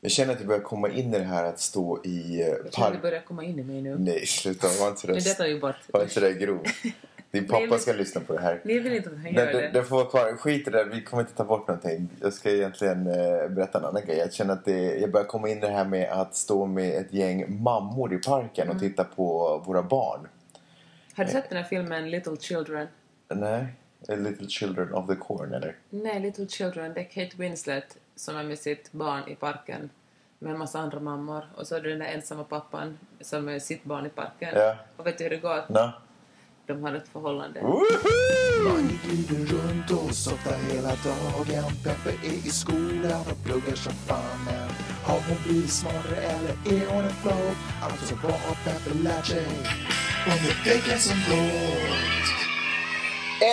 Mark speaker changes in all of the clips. Speaker 1: Jag känner att det börjar komma in i det här att stå i eh,
Speaker 2: Jag tror att det
Speaker 1: park...
Speaker 2: börjar komma in i mig nu.
Speaker 1: Nej, sluta. Var inte
Speaker 2: Men detta
Speaker 1: det,
Speaker 2: är ju bara ett...
Speaker 1: var Mm. inte det grov. Din
Speaker 2: Nej,
Speaker 1: pappa
Speaker 2: men-
Speaker 1: ska lyssna på det här.
Speaker 2: Ni vill inte att han
Speaker 1: Nej,
Speaker 2: gör
Speaker 1: det,
Speaker 2: det.
Speaker 1: det får vara kvar. Skit i det, vi kommer inte ta bort någonting. Jag ska egentligen eh, berätta en annan grej. Jag känner att det, jag börjar komma in i det här med att stå med ett gäng mammor i parken
Speaker 2: Mm.
Speaker 1: och titta på våra barn.
Speaker 2: Har du sett den här filmen Little Children?
Speaker 1: Nej, A Little Children of the Corn eller?
Speaker 2: Nej, Little Children. Det är Kate Winslet som är med sitt barn i parken med en massa andra mammor. Och så är det den där ensamma pappan som är sitt barn i parken.
Speaker 1: Ja.
Speaker 2: Och vet du hur det går?
Speaker 1: Nå?
Speaker 2: De har ett förhållande.
Speaker 1: Woho!
Speaker 3: Mange glider runt och softar hela dagen Peppe är i skolan och pluggar som fanen Har hon blivit smartare eller är hon en flow? Alltså vad har Peppe lärt sig under veckan som gått?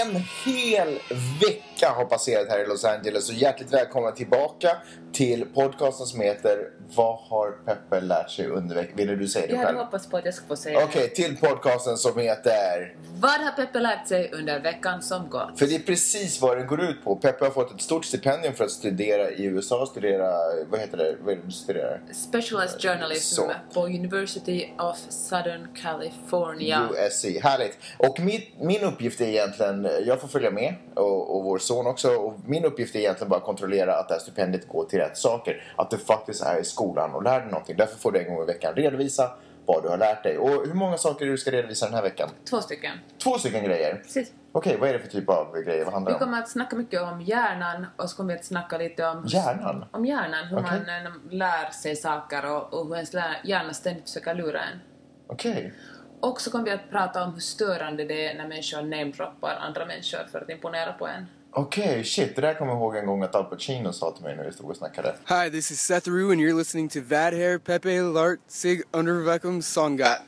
Speaker 1: En hel vecka har passerat här i Los Angeles och hjärtligt välkomna tillbaka till podcasten som heter Vad har Peppe lärt sig under veckan? Ville du säga det
Speaker 2: Jag
Speaker 1: själv?
Speaker 2: hade hoppats på att jag skulle få säga
Speaker 1: Okej,
Speaker 2: det.
Speaker 1: till podcasten som heter...
Speaker 2: Vad har Peppe lärt sig under veckan som gått?
Speaker 1: För det är precis vad den går ut på. Peppe har fått ett stort stipendium för att studera i USA. Studera... Vad heter det? Vad är det du studerar?
Speaker 2: Specialized journalism
Speaker 1: Så.
Speaker 2: på University of Southern California.
Speaker 1: USC. Härligt. Och mitt, min uppgift är egentligen, jag får följa med och, och vår son också. Och min uppgift är egentligen bara att kontrollera att det här stipendiet går till rätt saker. Att du faktiskt är i skolan och lär dig någonting. Därför får du en gång i veckan redovisa vad du har lärt dig. Och hur många saker är det du ska redovisa den här veckan?
Speaker 2: Två stycken.
Speaker 1: Två stycken grejer.
Speaker 2: Precis.
Speaker 1: Okej, vad är det för typ av grejer? Vad handlar
Speaker 2: Vi
Speaker 1: det om?
Speaker 2: kommer att snacka mycket om hjärnan och så kommer vi att snacka lite om
Speaker 1: Hjärnan?
Speaker 2: om hjärnan, hur
Speaker 1: Okej.
Speaker 2: man eh, när man lär sig saker och, och hur ens lär- hjärna ständigt försöker lura en.
Speaker 1: Okej.
Speaker 2: Och så kommer vi att prata om hur störande det är när människor namedroppar andra människor för att imponera på en.
Speaker 1: Okej, shit. Det där kommer jag ihåg en gång att Al Pacino sa till mig när vi stod och snackade.
Speaker 4: Hi, this is Seth Rue, and you're listening to Vadhair Pepe Lart Sig Undervecum Songat.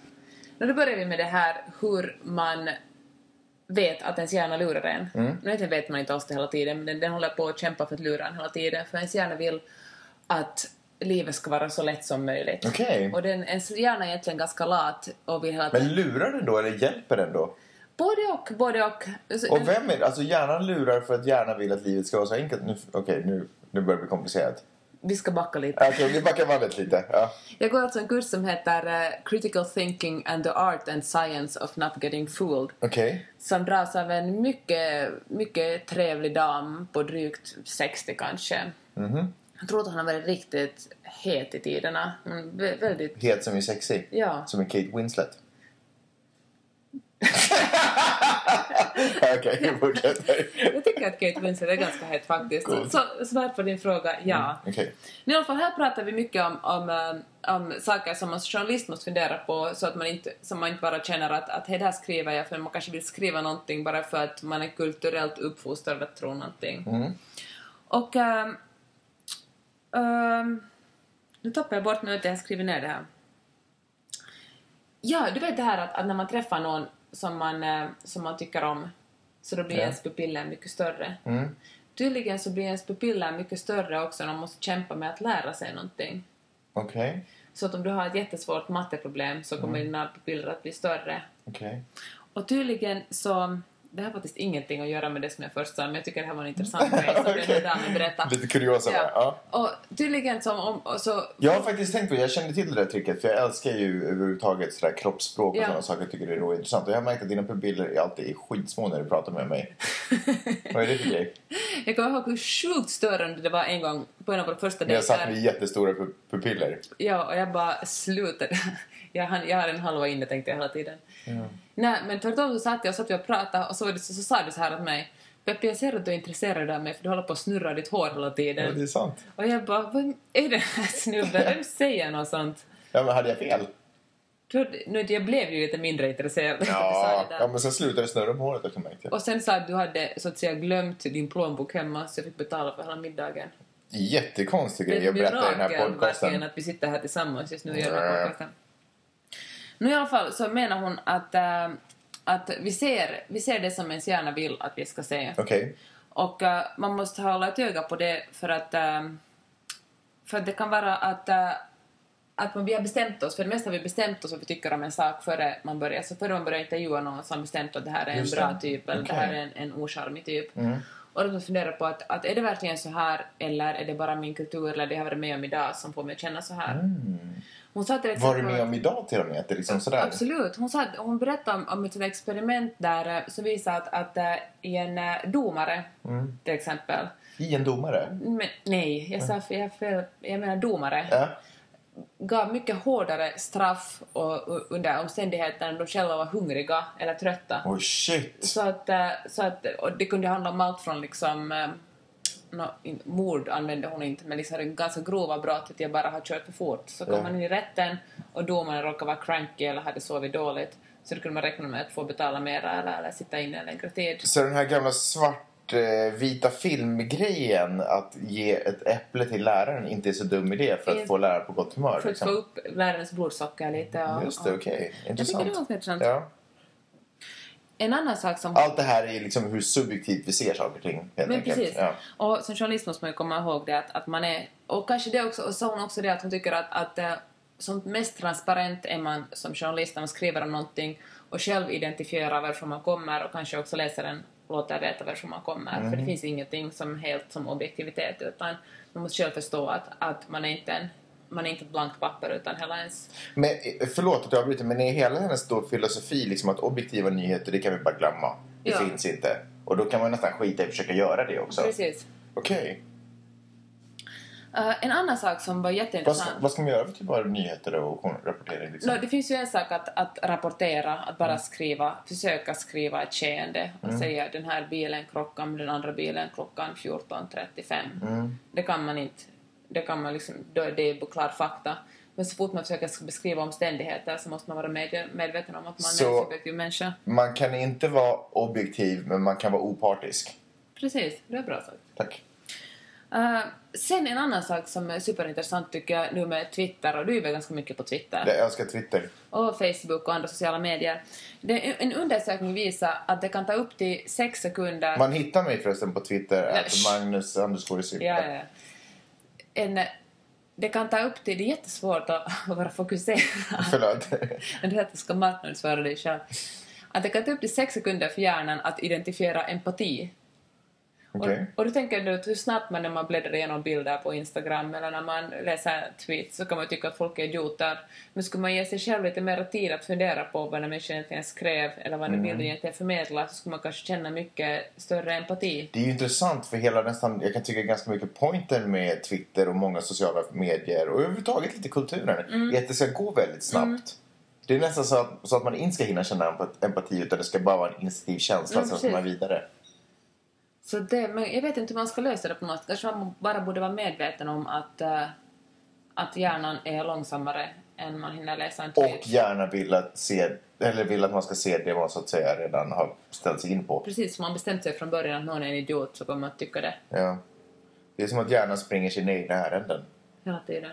Speaker 2: Men då börjar vi med det här hur man vet att ens hjärna lurar en. Mm. Nu vet- vet man inte alls det hela tiden, men den, den håller på att kämpa för att lura en hela tiden, för ens hjärna vill att livet ska vara så lätt som möjligt.
Speaker 1: Okej.
Speaker 2: Och den, ens hjärna är egentligen ganska lat och vill hela tiden...
Speaker 1: Men lurar den då eller hjälper den då?
Speaker 2: Både och, både och. Så den-
Speaker 1: Och vem är Alltså hjärnan lurar för att hjärnan vill att livet ska vara så enkelt. Nu- Okej, nu, nu börjar det bli komplicerat.
Speaker 2: Vi ska backa lite.
Speaker 1: Okej, vi backar bandet lite. Ja.
Speaker 2: Jag går alltså en kurs som heter eh, Critical Thinking and the Art and Science of Not Getting Fooled
Speaker 1: Okej.
Speaker 2: som dras av en mycket, mycket trevlig dam på drygt 60 kanske.
Speaker 1: Mhm.
Speaker 2: Jag tror att hon har varit riktigt het i tiderna. Mm, vä- väldigt...
Speaker 1: Het som är sexig.
Speaker 2: Ja.
Speaker 1: Som är Kate Winslet. Okej, vi fortsätter.
Speaker 2: Jag tycker att Kate Winslet är ganska het faktiskt. Så, så svar på din fråga, ja.
Speaker 1: Okej.
Speaker 2: Men I alla fall här pratar vi mycket om, om, eh, om saker som man som journalist måste fundera på så att man inte, så man inte bara känner att, att hej, det här skriver jag för man kanske vill skriva någonting bara för att man är kulturellt uppfostrad att tro någonting. Och... ehm, ehm, nu tappar jag bort mig att jag har skrivit ner det här. Ja, du vet det här att, att när man träffar någon som man, eh, som man tycker om så då blir
Speaker 1: Ja.
Speaker 2: ens pupiller mycket större. Tydligen så blir ens pupiller mycket större också när man måste kämpa med att lära sig någonting.
Speaker 1: Okej.
Speaker 2: Så att om du har ett jättesvårt matteproblem så
Speaker 1: Mm.
Speaker 2: kommer dina pupiller att bli större.
Speaker 1: Okej.
Speaker 2: Och tydligen så... Det här har faktiskt ingenting att göra med det som jag först sa, men jag tycker det här var en intressant grej som den här damen berättade.
Speaker 1: Lite kuriosa bara. Ja.
Speaker 2: Och tydligen som om... Och så,
Speaker 1: Jag har faktiskt tänkt på, jag kände till det där tricket för jag älskar ju överhuvudtaget sådär kroppsspråk och
Speaker 2: Ja.
Speaker 1: sådana saker. Jag tycker det är roligt intressant. Och jag har märkt att dina pupiller är alltid är skitsmå när du pratar med mig. Vad är det för grej?
Speaker 2: Jag kommer ihåg hur sjukt störande det var en gång på en av våra första
Speaker 1: Men jag satt
Speaker 2: dejter.
Speaker 1: med jättestora pu- pupiller.
Speaker 2: Ja, och jag bara slutade. Jag, hann, jag har en halva inne tänkte jag hela tiden. Nej, men tvärtom så satt jag och, satt vi och pratade och så, var det, så, så sa du så här åt mig. Peppe, jag ser att du är intresserad av mig för du håller på att snurra ditt hår hela
Speaker 1: Ja,
Speaker 2: tiden.
Speaker 1: det är sant.
Speaker 2: Och jag bara, vem är den här snubben? Vem säger något sånt?
Speaker 1: Ja, men hade jag fel?
Speaker 2: Du- Nu, jag blev ju lite mindre intresserad när du sa
Speaker 1: Ja,
Speaker 2: det där.
Speaker 1: ja men sen slutade det snurra om håret också märkte jag.
Speaker 2: Och sen sa du att du hade så att säga glömt din plånbok hemma så jag fick betala för hela middagen.
Speaker 1: Jättekonstig grej att
Speaker 2: ett
Speaker 1: berätta i den här
Speaker 2: mirakel verkligen
Speaker 1: podcasten.
Speaker 2: att vi sitter här tillsammans just nu och gör den
Speaker 1: Ja, ja.
Speaker 2: här podcasten. Nu No i alla fall så menar hon att, äh, att vi, ser, vi ser det som ens hjärna vill att vi ska se.
Speaker 1: Okej.
Speaker 2: Och äh, man måste hålla ett öga på det för att, äh, för att det kan vara att, äh, att man, vi har bestämt oss, för det mesta har vi bestämt oss vad vi tycker om en sak före man börjar, så före man börjar intervjua någon som bestämt att det här är en
Speaker 1: Just
Speaker 2: bra
Speaker 1: det.
Speaker 2: typ eller
Speaker 1: Okej.
Speaker 2: det här är en, en ocharmig typ.
Speaker 1: Mm.
Speaker 2: Och då funderar jag på att, att är det verkligen så här eller är det bara min kultur eller det jag har varit med om idag som får mig att känna så här. Hon sa till
Speaker 1: Mm. Var
Speaker 2: exempel...
Speaker 1: du med om idag till och med? Att det liksom sådär?
Speaker 2: Absolut. Hon, sa, hon berättade om, om ett sånt experiment där eh, som visade att, att eh, i en eh, domare till exempel.
Speaker 1: I en domare?
Speaker 2: Men, nej, jag sa fel. Jag, fel, jag menar domare.
Speaker 1: Ja.
Speaker 2: gav mycket hårdare straff och, och, under omständigheter när de själva var hungriga eller trötta.
Speaker 1: Oj, shit!
Speaker 2: Så att, eh, så att, och det kunde handla om allt från liksom, eh, nå, in- mord använde hon inte, men liksom det ganska grova brottet, jag bara har kört för fort. Så kom
Speaker 1: Ja.
Speaker 2: man in i rätten och domaren råkade vara cranky eller hade sovit dåligt, så då kunde man räkna med att få betala mer eller, eller sitta inne en längre tid.
Speaker 1: Så den här gamla svartvita filmgrejen att ge ett äpple till läraren inte är så dum idé för att
Speaker 2: Yes.
Speaker 1: få läraren på gott humör?
Speaker 2: För att få
Speaker 1: Liksom.
Speaker 2: upp lärarens blodsocker lite. Och,
Speaker 1: Just det,
Speaker 2: och-
Speaker 1: okej.
Speaker 2: Jag tycker
Speaker 1: Intressant.
Speaker 2: det var ganska intressant.
Speaker 1: Ja.
Speaker 2: En annan sak som
Speaker 1: Allt det här är liksom hur subjektivt vi ser saker och ting. Helt
Speaker 2: Men
Speaker 1: enkelt.
Speaker 2: precis.
Speaker 1: Ja.
Speaker 2: Och som journalist måste man ju komma ihåg det att, att man är... Och kanske det också, och sa hon också det att hon tycker att, att eh, som mest transparent är man som journalist när man skriver om någonting och själv identifierar varifrån man kommer och kanske också läsaren låter veta varifrån man kommer. För
Speaker 1: Mm.
Speaker 2: det finns ingenting som helt som objektivitet utan man måste själv förstå att, att man är inte en man är inte ett blankt papper utan hela ens...
Speaker 1: Men, eh, förlåt att jag avbryter, men är hela hennes då filosofi liksom att objektiva nyheter, det kan vi bara glömma. Det
Speaker 2: Ja.
Speaker 1: finns inte. Och då kan man nästan skita i att försöka göra det också.
Speaker 2: Precis.
Speaker 1: Okej.
Speaker 2: Eh, en annan sak som var
Speaker 1: Vad,
Speaker 2: jätteintressant...
Speaker 1: ska- vad ska man göra för typ av nyheter och rapportering? Liksom?
Speaker 2: No, det finns ju en sak att, att rapportera, att bara skriva, försöka skriva ett skeende och säga den här bilen krockar med den andra bilen klockan 14.35. Det kan man inte. Det kan man liksom, då är det är klar fakta. Men så fort man försöker beskriva omständigheter så måste man vara med, medveten om att man är
Speaker 1: Så-
Speaker 2: en subjektiv människa.
Speaker 1: Man kan inte vara objektiv, men man kan vara opartisk.
Speaker 2: Precis, det är bra sagt.
Speaker 1: Tack.
Speaker 2: Eh, sen en annan sak som är superintressant tycker jag nu med Twitter, och du är väl ganska mycket på Twitter?
Speaker 1: Jag älskar Twitter.
Speaker 2: och Facebook och andra sociala medier. Det, en undersökning visar att det kan ta upp till sex sekunder...
Speaker 1: Man hittar mig förresten på Twitter,
Speaker 2: Nej,
Speaker 1: att
Speaker 2: sh-
Speaker 1: Magnus underscore Silva.
Speaker 2: ja, ja. En, det kan ta upp till... Det är jättesvårt att vara fokuserad.
Speaker 1: Förlåt.
Speaker 2: Men det är att du ska marknadsföra dig själv. Att det kan ta upp till sex sekunder för hjärnan att identifiera empati.
Speaker 1: Okej.
Speaker 2: Och, och då tänker du att hur snabbt man när man bläddrar igenom bilder på Instagram eller när man läser tweets så kan man tycka att folk är idioter. Men skulle man ge sig själv lite mer tid att fundera på vad den människan egentligen skrev eller vad den
Speaker 1: Mm.
Speaker 2: bilden egentligen förmedlar så skulle man kanske känna mycket större empati.
Speaker 1: Det är ju intressant för hela nästan, jag kan tycka ganska mycket pointen med Twitter och många sociala medier och överhuvudtaget lite kulturen
Speaker 2: Mm.
Speaker 1: är att det ska gå väldigt snabbt. Det är nästan så att, så att man inte ska hinna känna empat- empati utan det ska bara vara en instinktiv känsla
Speaker 2: Mm,
Speaker 1: sen ska man
Speaker 2: precis.
Speaker 1: vidare.
Speaker 2: Så det, men jag vet inte hur man ska lösa det på något sätt. Kanske man bara borde vara medveten om att, eh, att hjärnan är långsammare än man hinner läsa en tweet.
Speaker 1: Och gärna vill att, se, eller vill att man ska se det man så att säga redan har ställt sig in på.
Speaker 2: Precis, man bestämt sig från början att någon är en idiot så kommer man att tycka det
Speaker 1: Ja. Det är som att hjärnan springer sina egna ärenden.
Speaker 2: hela tiden.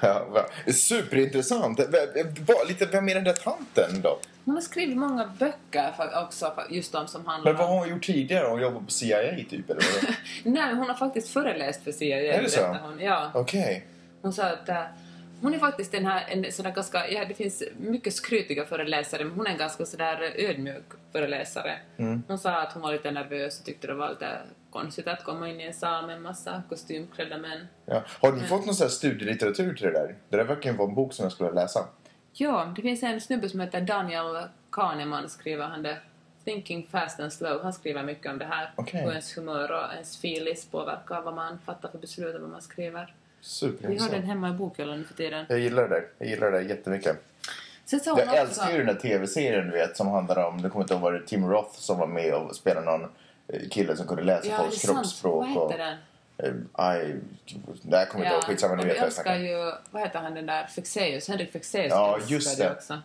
Speaker 1: ja, va. Superintressant! V- va- Lite, vem är den där tanten då?
Speaker 2: Hon har skrivit många böcker för, också, för just de som handlar
Speaker 1: Men vad har hon gjort tidigare? Hon jobbar på CIA typ eller vad?
Speaker 2: Nej, hon har faktiskt föreläst för CIA.
Speaker 1: Är det så?
Speaker 2: berättar Hon. Ja.
Speaker 1: Okej.
Speaker 2: Hon sa att eh, hon är faktiskt den här, en sån där ganska, ja, det finns mycket skrytiga föreläsare, men hon är en ganska sådär ödmjuk föreläsare.
Speaker 1: Mm.
Speaker 2: Hon sa att hon var lite nervös och tyckte det var lite konstigt att komma in i en sal med en massa kostymklädda män.
Speaker 1: Ja. Har du fått någon sån här studielitteratur till det där? Det där verkar ju vara en bok som jag skulle läsa.
Speaker 2: Ja, det finns en snubbe som heter Daniel Kahneman, skriver han det. Thinking fast and slow. Han skriver mycket om det här.
Speaker 1: Okej.
Speaker 2: Hur ens humör och ens filis påverkar vad man fattar för beslut och vad man skriver. Vi har den
Speaker 1: Superintressant.
Speaker 2: hemma i bokhyllan nu för tiden.
Speaker 1: Jag gillar det där. Jag gillar det där jättemycket.
Speaker 2: Sen sa hon
Speaker 1: Jag
Speaker 2: också...
Speaker 1: älskar ju den där tv-serien du vet som handlar om, det kommer inte ihåg vad det Tim Roth som var med och spelade någon eh, kille som kunde läsa
Speaker 2: Ja, det är
Speaker 1: folks
Speaker 2: sant.
Speaker 1: kroppsspråk.
Speaker 2: Vad hette den?
Speaker 1: och, eh, I... Det här kommer jag inte ihåg, skitsamma
Speaker 2: och
Speaker 1: ni
Speaker 2: vi
Speaker 1: vet vad jag snackar
Speaker 2: älskar
Speaker 1: om.
Speaker 2: ju... Vad heter han den där? Fexeus? Henrik Fexeus
Speaker 1: Ja,
Speaker 2: älskar
Speaker 1: just
Speaker 2: du
Speaker 1: det.
Speaker 2: också.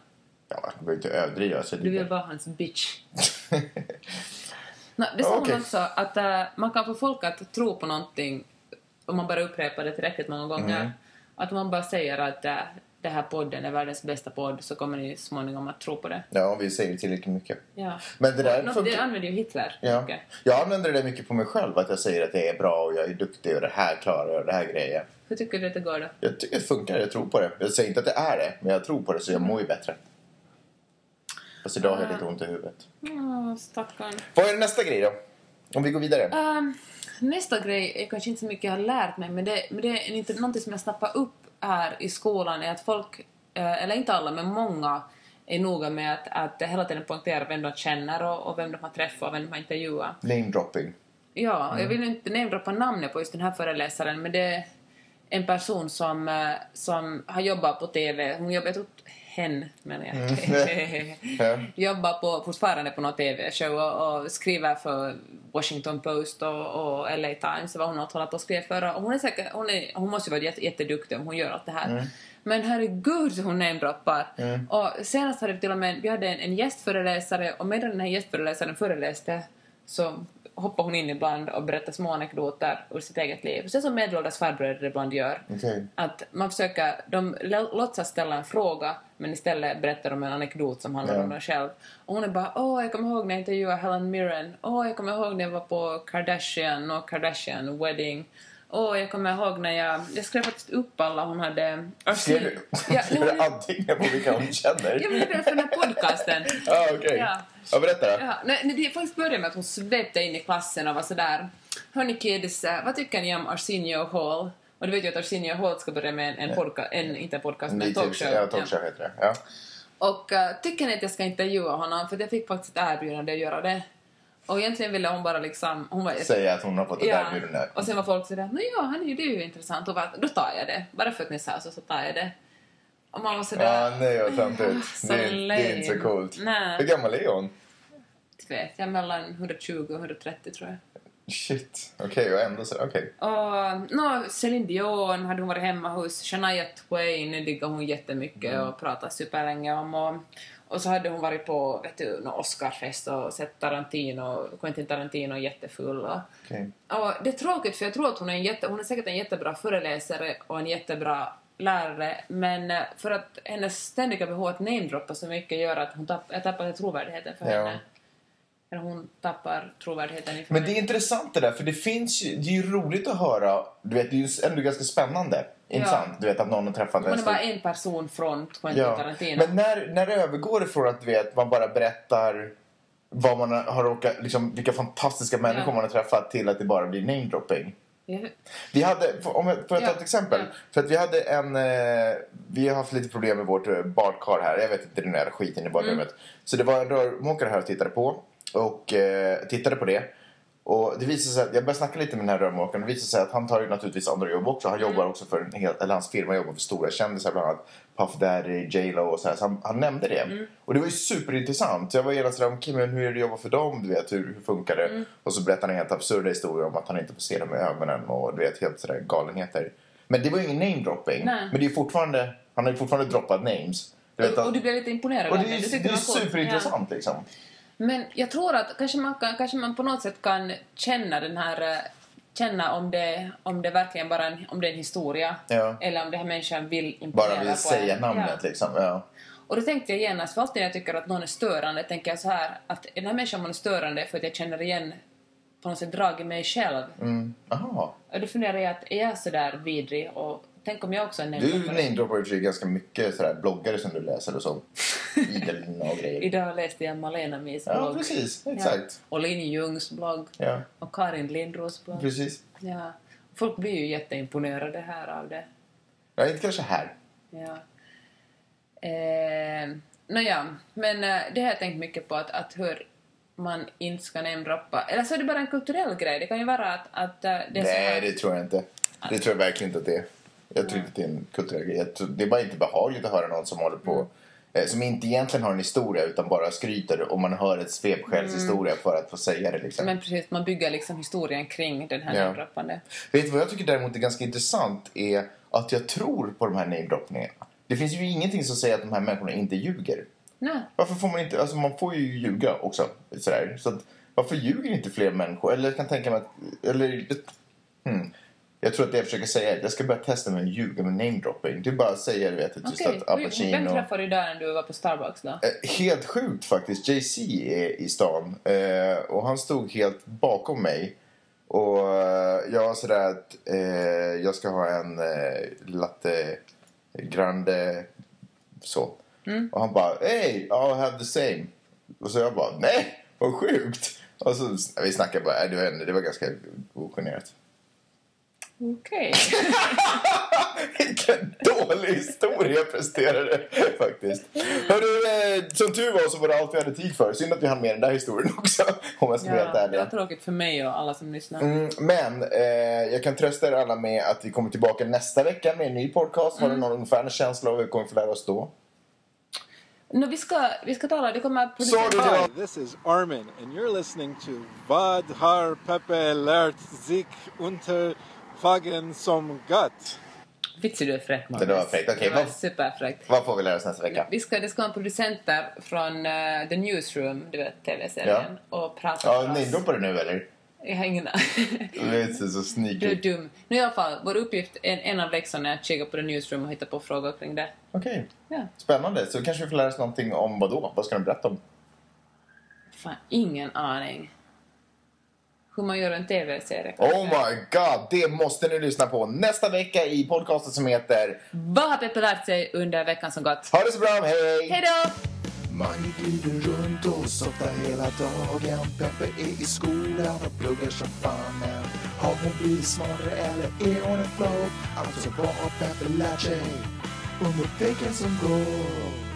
Speaker 1: Ja, jag behöver inte överdriva. Så
Speaker 2: Du
Speaker 1: det
Speaker 2: vill vara hans bitch. No, det sa
Speaker 1: Okej.
Speaker 2: hon också, att eh, man kan få folk att tro på någonting om man bara upprepar det tillräckligt många gånger.
Speaker 1: Mm.
Speaker 2: Att om man bara säger att uh, det här podden är världens bästa podd så kommer ni småningom att tro på det.
Speaker 1: Ja, vi säger det tillräckligt mycket.
Speaker 2: Ja.
Speaker 1: Men det där
Speaker 2: Nå,
Speaker 1: funkar-
Speaker 2: det använder ju Hitler
Speaker 1: Ja.
Speaker 2: mycket.
Speaker 1: Jag använder det där mycket på mig själv, att jag säger att det är bra och jag är duktig och det här klarar jag och det här grejen.
Speaker 2: Hur tycker du att det går då?
Speaker 1: Jag tycker det funkar, jag tror på det. Jag säger inte att det är det, men jag tror på det så jag mår ju bättre. Fast idag har jag lite ont i huvudet.
Speaker 2: Ja, stackarn.
Speaker 1: Vad är nästa grej då? Om vi går vidare.
Speaker 2: Ehm, nästa grej är kanske inte så mycket jag har lärt mig, men det, men det är en, inte- någonting som jag snappar upp här i skolan är att folk, eh, eller inte alla, men många är noga med att, att hela tiden poängtera vem de känner och, och vem de har träffat och vem de har intervjuat.
Speaker 1: Name dropping.
Speaker 2: Ja, och jag vill inte namedroppa namnet på just den här föreläsaren men det är en person som, eh, som har jobbat på TV. Hon jobbar, jag tror, hen menar jag.
Speaker 1: Ja.
Speaker 2: jobbar på, fortfarande på någon TV-show och, och skriver för Washington Post och, och LA Times. Det var hon har hållit på och skrivit för. Och hon, är säkert, hon, är, hon måste ju vara jätte, jätteduktig om hon gör allt det här. Men herregud så hon namedroppar. Och senast hade vi till och med, vi hade en, en gästföreläsare och medan den här gästföreläsaren föreläste så hoppar hon in ibland och berättar små anekdoter ur sitt eget liv. Så som medelålders farbröder ibland gör.
Speaker 1: Okej.
Speaker 2: Att man försöker, de lä- låtsas ställa en fråga men istället berättar de en anekdot som handlar
Speaker 1: Ja.
Speaker 2: om dem själv. Och hon är bara åh jag kommer ihåg när jag intervjuade Helen Mirren. Åh jag kommer ihåg när jag var på Kardashian och Kardashian wedding. Åh jag kommer ihåg när jag, jag skrev faktiskt upp alla hon hade.
Speaker 1: Ser du?
Speaker 2: Ja,
Speaker 1: Ser du anteckningar på vilka hon känner?
Speaker 2: Ja men det är väl för den här podcasten.
Speaker 1: Ja, okej.
Speaker 2: Ja.
Speaker 1: Ja, berätta då.
Speaker 2: Ja, nej, nej, det faktiskt började med att hon svepte in i klassen och var sådär Hörni kids, eh, vad tycker ni om Arsenio Hall? Och du vet ju att Arsenio Hall ska börja med en, en podcast, en, inte en podcast, men en
Speaker 1: Lite-
Speaker 2: talkshow.
Speaker 1: Ja, talkshow heter det. Ja.
Speaker 2: Ja. Och eh, tycker ni att jag ska intervjua honom? För jag fick faktiskt ett erbjudande att göra det. Och egentligen ville hon bara liksom... Hon var,
Speaker 1: Säga att hon har fått ett erbjudande.
Speaker 2: och sen var folk sådär, "Nå ja, han är ju, det är ju intressant. Och bara, då tar jag det. Bara för att ni sa så, så tar jag det. Och man var sådär...
Speaker 1: Ah, nej, vad töntigt.
Speaker 2: Så
Speaker 1: Det, är- det är inte så
Speaker 2: lame.
Speaker 1: coolt.
Speaker 2: Nej.
Speaker 1: Hur gammal är hon?
Speaker 2: Inte vet jag, mellan 120 och 130 tror jag.
Speaker 1: Shit. Okej, och ändå så. Okej.
Speaker 2: Och, no, Celine Dion hade hon varit hemma hos. Shania Twain diggar hon jättemycket
Speaker 1: Mm.
Speaker 2: och pratar superlänge om. Och, och så hade hon varit på vet du, någon Oscarfest och sett Tarantino, Quentin Tarantino jättefull. Och,
Speaker 1: Okej.
Speaker 2: och det är tråkigt för jag tror att hon är, en jätte, hon är säkert en jättebra föreläsare och en jättebra lärare men eh, för att hennes ständiga behov att namedroppa så mycket gör att hon tapp, jag tappar trovärdigheten för
Speaker 1: Ja.
Speaker 2: henne. Eller hon tappar trovärdigheten inför
Speaker 1: Men det
Speaker 2: henne.
Speaker 1: är intressant det där, för det finns ju, det är ju roligt att höra, du vet, det är ju ändå ganska spännande. Intressant, du vet att någon har träffat
Speaker 2: Hon är
Speaker 1: stor-
Speaker 2: bara en person från Quentin
Speaker 1: Ja.
Speaker 2: Tarantino.
Speaker 1: Men när, när övergår det från att du vet, man bara berättar vad man har råkat, liksom, vilka fantastiska människor
Speaker 2: Ja.
Speaker 1: man har träffat till att det bara blir namedropping?
Speaker 2: Jag-
Speaker 1: Vi hade, för- om jag, för att
Speaker 2: Ja,
Speaker 1: ta ett exempel.
Speaker 2: ja.
Speaker 1: För att vi hade en, eh, vi har haft lite problem med vårt eh, badkar här. Jag vet inte den där skiten i badrummet. Så det var en rörmokare här och tittade på. Och eh, tittade på det. Och det visade sig att, jag började snacka lite med den här rörmokaren. Det visade sig att han tar ju naturligtvis andra jobb också. Han jobbar också för en hel, eller hans firma jobbar för stora kändisar bland annat. Puff Daddy, J Lo och så här. Så han, han nämnde det. Och det var ju superintressant. Så jag var genast sådär, okej men hur är det att jobba för dem? Du vet, hur, hur funkar det? Och så berättade han helt absurda historier om att han inte får se dem i ögonen och du vet, helt sådär galenheter. Men det var ju ingen namedropping.
Speaker 2: Nej.
Speaker 1: Men det är ju fortfarande, han har ju fortfarande droppat names. Du vet,
Speaker 2: och,
Speaker 1: att,
Speaker 2: och du blev lite imponerad
Speaker 1: och
Speaker 2: av
Speaker 1: det är,
Speaker 2: Du
Speaker 1: ju-
Speaker 2: tyckte
Speaker 1: det är
Speaker 2: var coolt. Ja.
Speaker 1: superintressant liksom.
Speaker 2: Men jag tror att kanske man, kan, kanske man på något sätt kan känna den här eh, känna om det, om det verkligen bara en, om det är en historia
Speaker 1: Ja.
Speaker 2: eller om den här människan vill imponera
Speaker 1: Bara vill
Speaker 2: på
Speaker 1: säga
Speaker 2: en.
Speaker 1: namnet
Speaker 2: Ja.
Speaker 1: liksom. Ja.
Speaker 2: Och då tänkte jag genast, för alltid när jag tycker att någon är störande tänker jag så här att är den här människan man är störande för att jag känner igen på något sätt drag i mig själv.
Speaker 1: Mm. Aha.
Speaker 2: Och då funderar jag att är jag så där vidrig och tänk om jag också är en
Speaker 1: Du
Speaker 2: nämndare?
Speaker 1: namedroppar ju för sig ganska mycket sådär bloggar som du läser och så. Idelna och grejer.
Speaker 2: Idag läste jag Malena Mis
Speaker 1: Ja,
Speaker 2: blogg.
Speaker 1: precis.
Speaker 2: Ja.
Speaker 1: Exakt.
Speaker 2: Och Linn Ljungs blogg.
Speaker 1: Ja,
Speaker 2: Och Karin Lindros blogg.
Speaker 1: precis.
Speaker 2: Ja. Folk blir ju jätteimponerade här av det.
Speaker 1: Ja, inte kanske här.
Speaker 2: Ja. Eh, Nåja, men eh, det har jag tänkt mycket på att, att hur man inte ska namedroppa. Eller så är det bara en kulturell grej. Det kan ju vara att, att eh, det är så
Speaker 1: Nej,
Speaker 2: här.
Speaker 1: det tror jag inte. Det tror jag verkligen inte att det är. Jag tror inte att det är en kulturell grej. Jag tror- Det är bara inte behagligt att höra någon som håller
Speaker 2: Mm.
Speaker 1: på eh, som inte egentligen har en historia utan bara skryter och man hör ett
Speaker 2: Mm.
Speaker 1: svepskäls historia för att få säga det. Liksom.
Speaker 2: Men precis, man bygger liksom historien kring den här
Speaker 1: Ja.
Speaker 2: namedroppande.
Speaker 1: Vet du vad jag tycker däremot är ganska intressant är att jag tror på de här namedroppningarna. Det finns ju ingenting som säger att de här människorna inte ljuger.
Speaker 2: Nej.
Speaker 1: Varför får man inte, alltså man får ju ljuga också. Sådär. Så att, varför ljuger inte fler människor? Eller jag kan tänka mig att, eller, hmm. Jag tror att det jag försöker säga är att jag ska börja testa med att ljuga med namedropping. Det är bara att säga, du vet, att just
Speaker 2: Okej,
Speaker 1: att Al
Speaker 2: Vem- vem
Speaker 1: Pacino...
Speaker 2: träffade du där när du var på Starbucks då?
Speaker 1: Eh, Helt sjukt faktiskt. Jay-Z är i stan eh, och han stod helt bakom mig. Och eh, jag sa där att eh, jag ska ha en eh, latte grande så. Och han bara hey, I'll have the same. Och så jag bara nej, vad sjukt. Och så, vi snackade bara, äh, det, var, det var ganska ogenerat.
Speaker 2: Okej.
Speaker 1: Vilken dålig historia jag presterade faktiskt. Hörru, eh, som tur var så var det allt vi hade tid för. Synd att vi hann med den där historien också. Om jag ska vara helt
Speaker 2: Ja, det
Speaker 1: ärlig.
Speaker 2: var tråkigt för mig och alla som lyssnar.
Speaker 1: Mm, men eh, jag kan trösta er alla med att vi kommer tillbaka nästa vecka med en ny podcast.
Speaker 2: Mm.
Speaker 1: Har du någon ungefärlig känsla av hur vi kommer få lära oss då?
Speaker 2: Nå, vi, ska, vi ska tala, det kommer... på-
Speaker 1: Sa du det?
Speaker 5: Hi, this is Armin, and you're listening to Vad har Pepe lärt sig unter Fagen som Gott?
Speaker 2: Ah, Vitsi, du är fräck, Magnus.
Speaker 1: Det var fräckt. Okej,
Speaker 2: Det var
Speaker 1: vad-
Speaker 2: superfräckt.
Speaker 1: Vad får vi lära oss nästa vecka?
Speaker 2: Vi ska, det ska vara en producent där från eh, The Newsroom, du vet tv-serien, och prata
Speaker 1: Ja,
Speaker 2: för
Speaker 1: nej,
Speaker 2: oss.
Speaker 1: då på det nu eller?
Speaker 2: Jag har ingen
Speaker 1: Det är så
Speaker 2: Mm. Du är
Speaker 1: sneaky.
Speaker 2: dum. Nu i alla fall, vår uppgift, en, en av läxorna är att kika på The Newsroom och hitta på frågor kring det.
Speaker 1: Okej.
Speaker 2: Ja.
Speaker 1: Spännande. Så kanske vi får lära oss någonting om vad då? Vad ska de berätta om?
Speaker 2: Fan, ingen aning. Hur man gör en tv-serie.
Speaker 1: Oh my god, det måste ni lyssna på nästa vecka i podcasten som heter
Speaker 2: Vad har Peppe lärt sig under veckan som gått?
Speaker 1: Ha det så bra, hej!
Speaker 2: Hej då!
Speaker 3: Man glider runt och softar hela dagen Peppe är i skolan och pluggar som fan Har hon blivit smartare eller är hon en flow? Alltså vad har Peppe lärt sig under veckan som går?